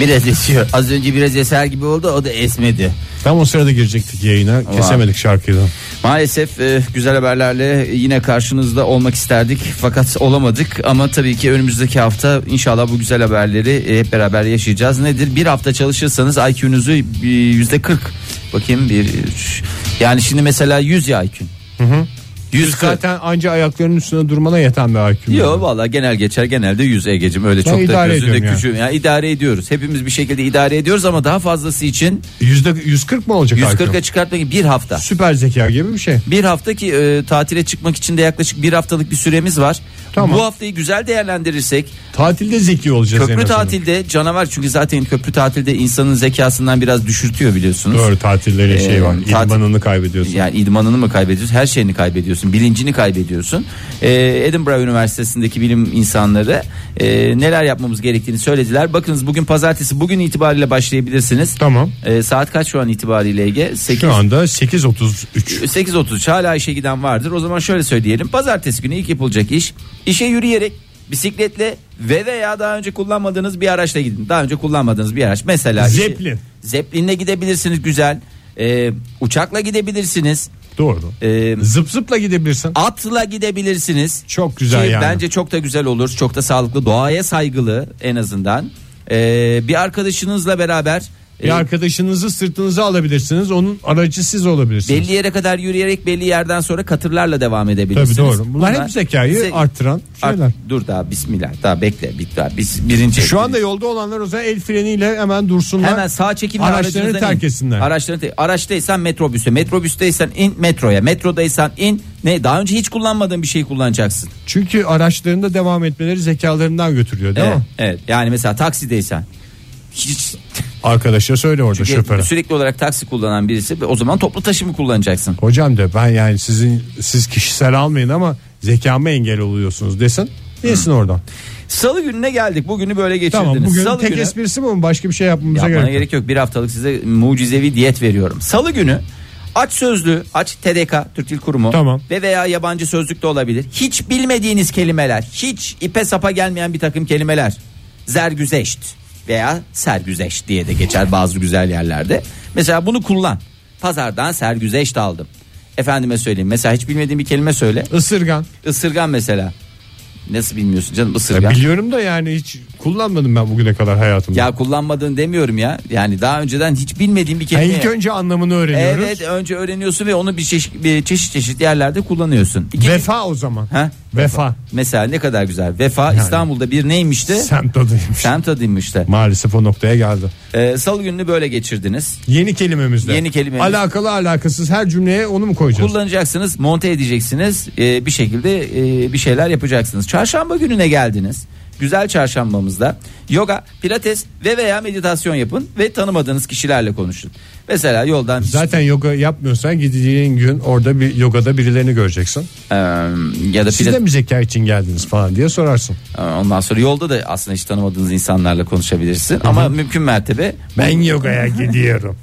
[SPEAKER 3] Biraz esiyor. Az önce biraz eser gibi oldu o da esmedi.
[SPEAKER 2] Tam o sırada girecektik yayına. Kesemedik şarkıyı da.
[SPEAKER 3] Maalesef e, güzel haberlerle yine karşınızda olmak isterdik fakat olamadık ama tabii ki önümüzdeki hafta inşallah bu güzel haberleri e, hep beraber yaşayacağız. Nedir? Bir hafta çalışırsanız IQ'nuzu e, yüzde 40 bakayım bir üç. yani şimdi mesela 100 ya IQ'un. 140.
[SPEAKER 2] Zaten anca ayaklarının üstüne durmana yeten bir IQ.
[SPEAKER 3] Yok valla genel geçer genelde 100 Ege'cim öyle çok da
[SPEAKER 2] Hmm. idare
[SPEAKER 3] gözünde
[SPEAKER 2] ediyorum ya.
[SPEAKER 3] küçüğüm. Ya idare ediyoruz. Hepimiz bir şekilde idare ediyoruz ama daha fazlası için
[SPEAKER 2] Yüzde 140 mı olacak
[SPEAKER 3] 140'a
[SPEAKER 2] 140
[SPEAKER 3] çıkartmak için bir hafta.
[SPEAKER 2] Süper zeka gibi bir şey.
[SPEAKER 3] Bir hafta ki e, tatile çıkmak için de yaklaşık bir haftalık bir süremiz var.
[SPEAKER 2] Tamam.
[SPEAKER 3] Bu haftayı güzel değerlendirirsek
[SPEAKER 2] Tatilde zeki olacağız. en
[SPEAKER 3] köprü
[SPEAKER 2] azından.
[SPEAKER 3] tatilde canavar çünkü zaten köprü tatilde insanın zekasından biraz düşürtüyor biliyorsunuz.
[SPEAKER 2] Doğru tatilleri
[SPEAKER 3] Ee,
[SPEAKER 2] şey var.
[SPEAKER 3] tatil-
[SPEAKER 2] İdmanını kaybediyorsun.
[SPEAKER 3] Yani idmanını mı kaybediyorsun? Her şeyini kaybediyorsun. Bilincini kaybediyorsun. Ee, Edinburgh Üniversitesi'ndeki bilim insanları e, neler yapmamız gerektiğini söylediler. Bakınız bugün pazartesi bugün itibariyle başlayabilirsiniz.
[SPEAKER 2] Tamam.
[SPEAKER 3] Ee, saat kaç şu an itibariyle Ege? 8
[SPEAKER 2] Şu anda 8.33.
[SPEAKER 3] 8.30 hala işe giden vardır. O zaman şöyle söyleyelim. Pazartesi günü ilk yapılacak iş işe yürüyerek bisikletle ve veya daha önce kullanmadığınız bir araçla gidin. Daha önce kullanmadığınız bir araç mesela. işe-
[SPEAKER 2] Zeplin.
[SPEAKER 3] Zeplinle gidebilirsiniz güzel. Ee, uçakla gidebilirsiniz.
[SPEAKER 2] Doğru.
[SPEAKER 3] Ee,
[SPEAKER 2] Zıp zıpla gidebilirsin.
[SPEAKER 3] atla gidebilirsiniz.
[SPEAKER 2] Çok güzel
[SPEAKER 3] Ki
[SPEAKER 2] yani.
[SPEAKER 3] Bence çok da güzel olur. Çok da sağlıklı. Doğaya saygılı en azından. Ee, bir arkadaşınızla beraber
[SPEAKER 2] Bir
[SPEAKER 3] e,
[SPEAKER 2] arkadaşınızı sırtınıza alabilirsiniz. Onun aracı siz olabilirsiniz.
[SPEAKER 3] belli yere kadar yürüyerek belli yerden sonra katırlarla devam
[SPEAKER 2] Tabii
[SPEAKER 3] edebilirsiniz.
[SPEAKER 2] doğru. Bunlar, hep zekayı
[SPEAKER 3] ze-
[SPEAKER 2] artıran
[SPEAKER 3] Art-
[SPEAKER 2] şeyler.
[SPEAKER 3] dur daha bismillah daha bekle bir daha biz birinci.
[SPEAKER 2] Şu anda yolda olanlar o zaman el freniyle hemen dursunlar.
[SPEAKER 3] hemen sağ çekimle
[SPEAKER 2] Araçlarını
[SPEAKER 3] aracınızdan
[SPEAKER 2] terk
[SPEAKER 3] in.
[SPEAKER 2] etsinler.
[SPEAKER 3] Araçlarını terk- araçtaysan metrobüse, metrobüsteysen in metroya, metrodaysan in ne daha önce hiç kullanmadığın bir şey kullanacaksın.
[SPEAKER 2] Çünkü araçlarında devam etmeleri zekalarından götürüyor değil
[SPEAKER 3] evet,
[SPEAKER 2] mi?
[SPEAKER 3] evet. Yani mesela taksideysen hiç
[SPEAKER 2] Arkadaşa söyle orada şoföre.
[SPEAKER 3] sürekli olarak taksi kullanan birisi o zaman toplu taşıma kullanacaksın.
[SPEAKER 2] Hocam de ben yani sizin siz kişisel almayın ama zekama engel oluyorsunuz desin. Desin oradan.
[SPEAKER 3] Salı gününe geldik. Bugünü böyle geçirdiniz.
[SPEAKER 2] Tamam bugün
[SPEAKER 3] Salı
[SPEAKER 2] tek
[SPEAKER 3] günü
[SPEAKER 2] esprisi mi bu? başka bir şey yapmamıza
[SPEAKER 3] yapmana
[SPEAKER 2] gerek, yok.
[SPEAKER 3] gerek yok. Bir haftalık size mucizevi diyet veriyorum. Salı günü aç sözlü, aç TDK Türk Dil Kurumu
[SPEAKER 2] Tamam.
[SPEAKER 3] ve veya yabancı sözlük de olabilir. Hiç bilmediğiniz kelimeler, hiç ipe sapa gelmeyen bir takım kelimeler. Zergüzeşt veya sergüzeşt diye de geçer bazı güzel yerlerde. Mesela bunu kullan. Pazardan sergüzeşt aldım. Efendime söyleyeyim. Mesela hiç bilmediğin bir kelime söyle.
[SPEAKER 2] Isırgan.
[SPEAKER 3] Isırgan mesela. Nasıl bilmiyorsun canım
[SPEAKER 2] Ya
[SPEAKER 3] ısırgan?
[SPEAKER 2] biliyorum da yani hiç kullanmadım ben bugüne kadar hayatımda.
[SPEAKER 3] ya kullanmadığını demiyorum ya. Yani daha önceden hiç bilmediğim bir
[SPEAKER 2] Ha,
[SPEAKER 3] kelime.
[SPEAKER 2] ilk önce anlamını öğreniyoruz.
[SPEAKER 3] Evet önce öğreniyorsun ve onu bir çeşit, bir çeşit çeşit yerlerde kullanıyorsun. İki-
[SPEAKER 2] Vefa o zaman.
[SPEAKER 3] Ha?
[SPEAKER 2] Vefa.
[SPEAKER 3] Mesela ne kadar güzel. Vefa İstanbul'da bir neymişti?
[SPEAKER 2] Semt adıymış.
[SPEAKER 3] Semt adıymış da.
[SPEAKER 2] Maalesef o noktaya geldi.
[SPEAKER 3] Ee, Salı gününü böyle geçirdiniz.
[SPEAKER 2] Yeni kelimemizle.
[SPEAKER 3] Yeni kelimemiz.
[SPEAKER 2] Alakalı alakasız her cümleye onu mu koyacağız?
[SPEAKER 3] Kullanacaksınız, monte edeceksiniz. Ee, bir şekilde e, bir şeyler yapacaksınız. Çarşamba gününe geldiniz. Güzel çarşambamızda yoga, pilates ve veya meditasyon yapın ve tanımadığınız kişilerle konuşun. Mesela yoldan
[SPEAKER 2] Zaten yoga yapmıyorsan gideceğin gün orada bir yogada birilerini göreceksin.
[SPEAKER 3] Ee, ya da
[SPEAKER 2] Siz
[SPEAKER 3] pilates-
[SPEAKER 2] de mi zeka için geldiniz falan diye sorarsın.
[SPEAKER 3] Ee, Ondan sonra yolda da aslında hiç tanımadığınız insanlarla konuşabilirsin. Ama mümkün mertebe
[SPEAKER 2] Ben yogaya gidiyorum.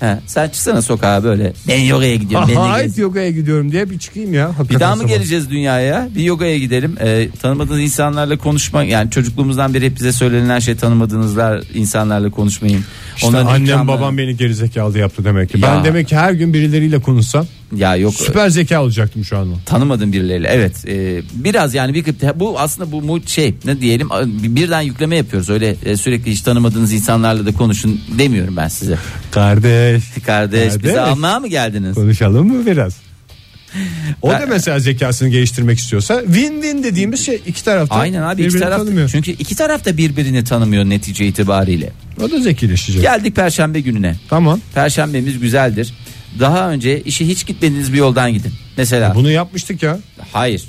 [SPEAKER 3] he, sen çıksana sokağa böyle ben yogaya gidiyorum. ben de
[SPEAKER 2] Aha,
[SPEAKER 3] gez-
[SPEAKER 2] ait yogaya gidiyorum diye bir çıkayım ya.
[SPEAKER 3] Bir
[SPEAKER 2] hakikaten
[SPEAKER 3] daha mı
[SPEAKER 2] sabah.
[SPEAKER 3] geleceğiz dünyaya? Bir yogaya gidelim. Ee, tanımadığınız insanlarla konuşmak yani çocukluğumuzdan beri hep bize söylenen şey tanımadığınızlar insanlarla konuşmayın.
[SPEAKER 2] İşte
[SPEAKER 3] Onların ikramları-
[SPEAKER 2] annem babam beni gerizekalı yaptı demek ki.
[SPEAKER 3] Ya.
[SPEAKER 2] Ben demek ki her gün birileriyle konuşsam
[SPEAKER 3] ya yok
[SPEAKER 2] süper zeka olacaktım şu anda.
[SPEAKER 3] tanımadığım birileriyle. Evet. e, biraz yani bir bu aslında bu mu şey ne diyelim birden yükleme yapıyoruz. Öyle e, sürekli hiç tanımadığınız insanlarla da konuşun demiyorum ben size.
[SPEAKER 2] Kardeş
[SPEAKER 3] Kardeş bizi
[SPEAKER 2] Kardeş.
[SPEAKER 3] almaya mı geldiniz?
[SPEAKER 2] konuşalım mı biraz? O
[SPEAKER 3] Ben-
[SPEAKER 2] da mesela zekasını geliştirmek istiyorsa win-win dediğimiz şey iki tarafta
[SPEAKER 3] Aynen abi iki
[SPEAKER 2] birbirini
[SPEAKER 3] taraf
[SPEAKER 2] tanımıyor.
[SPEAKER 3] çünkü iki taraf da birbirini tanımıyor netice itibariyle.
[SPEAKER 2] O da zekileşecek.
[SPEAKER 3] Geldik perşembe gününe.
[SPEAKER 2] Tamam.
[SPEAKER 3] Perşembemiz güzeldir. Daha önce işe hiç gitmediğiniz bir yoldan gidin. Mesela
[SPEAKER 2] Bunu yapmıştık ya.
[SPEAKER 3] hayır.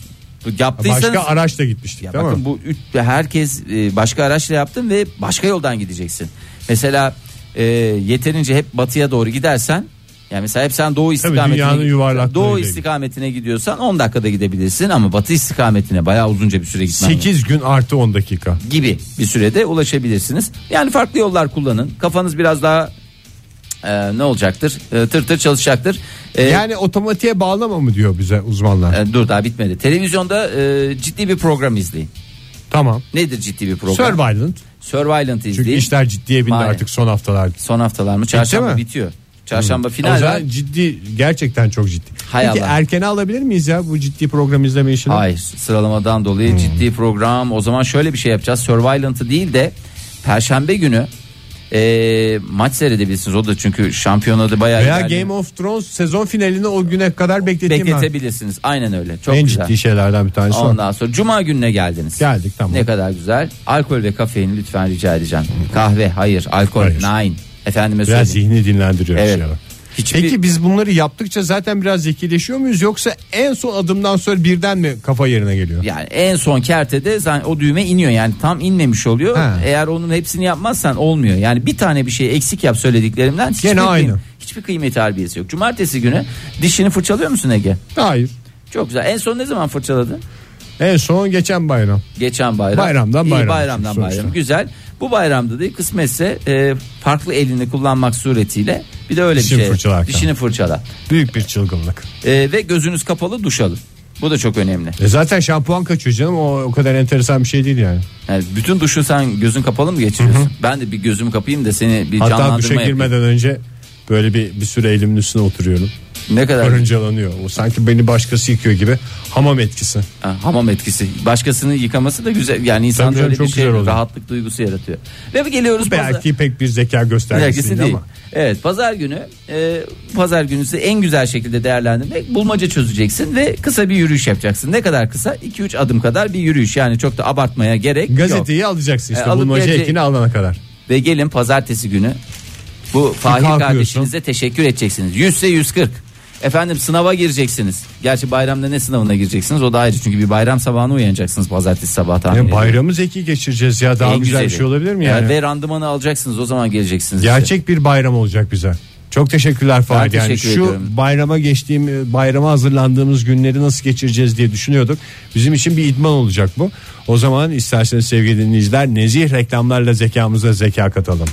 [SPEAKER 3] Bu yaptıysanız
[SPEAKER 2] Başka araçla gitmiştik
[SPEAKER 3] ya
[SPEAKER 2] değil
[SPEAKER 3] bakın
[SPEAKER 2] mi?
[SPEAKER 3] bu üç, herkes e, başka araçla yaptın ve başka yoldan gideceksin. Mesela e, yeterince hep batıya doğru gidersen yani mesela hep sen doğu istikametine
[SPEAKER 2] dünyanın yuvarlaklığıyla
[SPEAKER 3] doğu
[SPEAKER 2] ilgili.
[SPEAKER 3] istikametine gidiyorsan 10 dakikada gidebilirsin ama batı istikametine bayağı uzunca bir süre gitmen
[SPEAKER 2] 8 gün artı 10 dakika.
[SPEAKER 3] gibi bir sürede ulaşabilirsiniz. Yani farklı yollar kullanın. Kafanız biraz daha e, ne olacaktır? E, tır tır çalışacaktır. E,
[SPEAKER 2] Yani otomatiğe bağlama mı diyor bize uzmanlar.
[SPEAKER 3] e, dur daha bitmedi. Televizyonda e, ciddi bir program izleyin.
[SPEAKER 2] Tamam.
[SPEAKER 3] Nedir ciddi bir program?
[SPEAKER 2] Survivalent.
[SPEAKER 3] Survivalent
[SPEAKER 2] Çünkü
[SPEAKER 3] izleyin.
[SPEAKER 2] işler ciddiye bindi
[SPEAKER 3] Aynen.
[SPEAKER 2] artık son haftalarda.
[SPEAKER 3] Son haftalar mı? Çarşamba
[SPEAKER 2] mi?
[SPEAKER 3] bitiyor. Çarşamba
[SPEAKER 2] O
[SPEAKER 3] final var.
[SPEAKER 2] zaman ciddi gerçekten çok ciddi.
[SPEAKER 3] Hay
[SPEAKER 2] Peki
[SPEAKER 3] Allah.
[SPEAKER 2] erkene alabilir miyiz ya bu ciddi program izleme işini?
[SPEAKER 3] Hayır sıralamadan dolayı ciddi program. O zaman şöyle bir şey yapacağız. Survivalent'ı değil de Perşembe günü e, maç seyredebilirsiniz. O da çünkü şampiyonada bayağı
[SPEAKER 2] Veya
[SPEAKER 3] ilerliyor.
[SPEAKER 2] Game of Thrones sezon finalini o güne kadar bekleteyim ben.
[SPEAKER 3] bekletebilirsiniz. Aynen öyle. Çok
[SPEAKER 2] En
[SPEAKER 3] güzel.
[SPEAKER 2] ciddi şeylerden bir tanesi o.
[SPEAKER 3] Ondan sonra cuma gününe geldiniz.
[SPEAKER 2] Geldik, tamam.
[SPEAKER 3] Ne kadar güzel. Alkol ve kafein lütfen rica edeceğim. Kahve hayır, alkol
[SPEAKER 2] Hayır.
[SPEAKER 3] nine. Efendime
[SPEAKER 2] Biraz
[SPEAKER 3] söyleyeyim.
[SPEAKER 2] zihni dinlendiriyor
[SPEAKER 3] Evet.
[SPEAKER 2] şeyler.
[SPEAKER 3] Hiçbir-
[SPEAKER 2] Peki biz bunları yaptıkça zaten biraz zekileşiyor muyuz yoksa en son adımdan sonra birden mi kafa yerine geliyor?
[SPEAKER 3] Yani en son kertede zaten o düğme iniyor yani tam inmemiş oluyor.
[SPEAKER 2] Ha.
[SPEAKER 3] Eğer onun hepsini yapmazsan olmuyor. Yani bir tane bir şey eksik yap söylediklerimden hiçbir,
[SPEAKER 2] Gene
[SPEAKER 3] kıym-
[SPEAKER 2] aynı.
[SPEAKER 3] hiçbir kıymeti harbiyesi yok. Cumartesi günü dişini fırçalıyor musun Ege?
[SPEAKER 2] Hayır.
[SPEAKER 3] Çok güzel. En son ne zaman fırçaladın?
[SPEAKER 2] En son geçen bayram.
[SPEAKER 3] Geçen bayram.
[SPEAKER 2] Bayramdan
[SPEAKER 3] İyi,
[SPEAKER 2] bayram
[SPEAKER 3] bayramdan
[SPEAKER 2] sonuçta.
[SPEAKER 3] bayram. Güzel. Bu bayramda da kısmetse e, farklı elini kullanmak suretiyle bir de öyle
[SPEAKER 2] Dişini
[SPEAKER 3] bir şey.
[SPEAKER 2] fırçalarken.
[SPEAKER 3] Dişini fırçala.
[SPEAKER 2] Büyük bir çılgınlık.
[SPEAKER 3] E, ve gözünüz kapalı duş alın. Bu da çok önemli.
[SPEAKER 2] E zaten şampuan kaçıyor canım o, o kadar enteresan bir şey değil yani.
[SPEAKER 3] Yani bütün duşu sen gözün kapalı mı geçiriyorsun? Ben de bir gözümü kapayayım da seni bir
[SPEAKER 2] Hatta duşa
[SPEAKER 3] canlandırma yapayım.
[SPEAKER 2] girmeden önce böyle bir, bir süre elimin üstüne oturuyorum.
[SPEAKER 3] Ne kadar
[SPEAKER 2] Karıncalanıyor. O sanki beni başkası yıkıyor gibi. Hamam etkisi.
[SPEAKER 3] Ha, hamam etkisi. Başkasının yıkaması da güzel. Yani
[SPEAKER 2] Tabii
[SPEAKER 3] insan
[SPEAKER 2] canım,
[SPEAKER 3] öyle
[SPEAKER 2] çok
[SPEAKER 3] bir şey
[SPEAKER 2] güzel oluyor.
[SPEAKER 3] rahatlık duygusu yaratıyor. Ve geliyoruz pazar-
[SPEAKER 2] Belki pek bir zeka göstergesi
[SPEAKER 3] Belgesi
[SPEAKER 2] değil,
[SPEAKER 3] değil.
[SPEAKER 2] ama.
[SPEAKER 3] Evet pazar günü e, pazar günü size en güzel şekilde değerlendirmek bulmaca çözeceksin ve kısa bir yürüyüş yapacaksın. Ne kadar kısa? 2-3 adım kadar bir yürüyüş yani çok da abartmaya gerek yok.
[SPEAKER 2] Gazeteyi alacaksın işte
[SPEAKER 3] E, alıp
[SPEAKER 2] bulmaca
[SPEAKER 3] gelecek-
[SPEAKER 2] ekini alana kadar.
[SPEAKER 3] Ve gelin pazartesi günü bu Fahir
[SPEAKER 2] kalkıyorsun.
[SPEAKER 3] kardeşinize teşekkür edeceksiniz. 100 ise 140. Efendim sınava gireceksiniz. Gerçi bayramda ne sınavına gireceksiniz o da ayrı. Çünkü bir bayram sabahına uyanacaksınız pazartesi sabahı tahmin
[SPEAKER 2] Ya
[SPEAKER 3] ediyorum.
[SPEAKER 2] bayramı zeki geçireceğiz ya daha
[SPEAKER 3] En
[SPEAKER 2] güzel bir
[SPEAKER 3] güzeli.
[SPEAKER 2] şey olabilir mi yani?
[SPEAKER 3] Ve randımanı alacaksınız o zaman geleceksiniz. işte.
[SPEAKER 2] Gerçek bir bayram olacak bize. Çok teşekkürler Fahri.
[SPEAKER 3] Ben
[SPEAKER 2] yani
[SPEAKER 3] teşekkür
[SPEAKER 2] şu
[SPEAKER 3] ediyorum.
[SPEAKER 2] bayrama geçtiğim e, bayrama hazırlandığımız günleri nasıl geçireceğiz diye düşünüyorduk. Bizim için bir idman olacak bu. O zaman isterseniz sevgili dinleyiciler nezih reklamlarla zekamıza zeka katalım.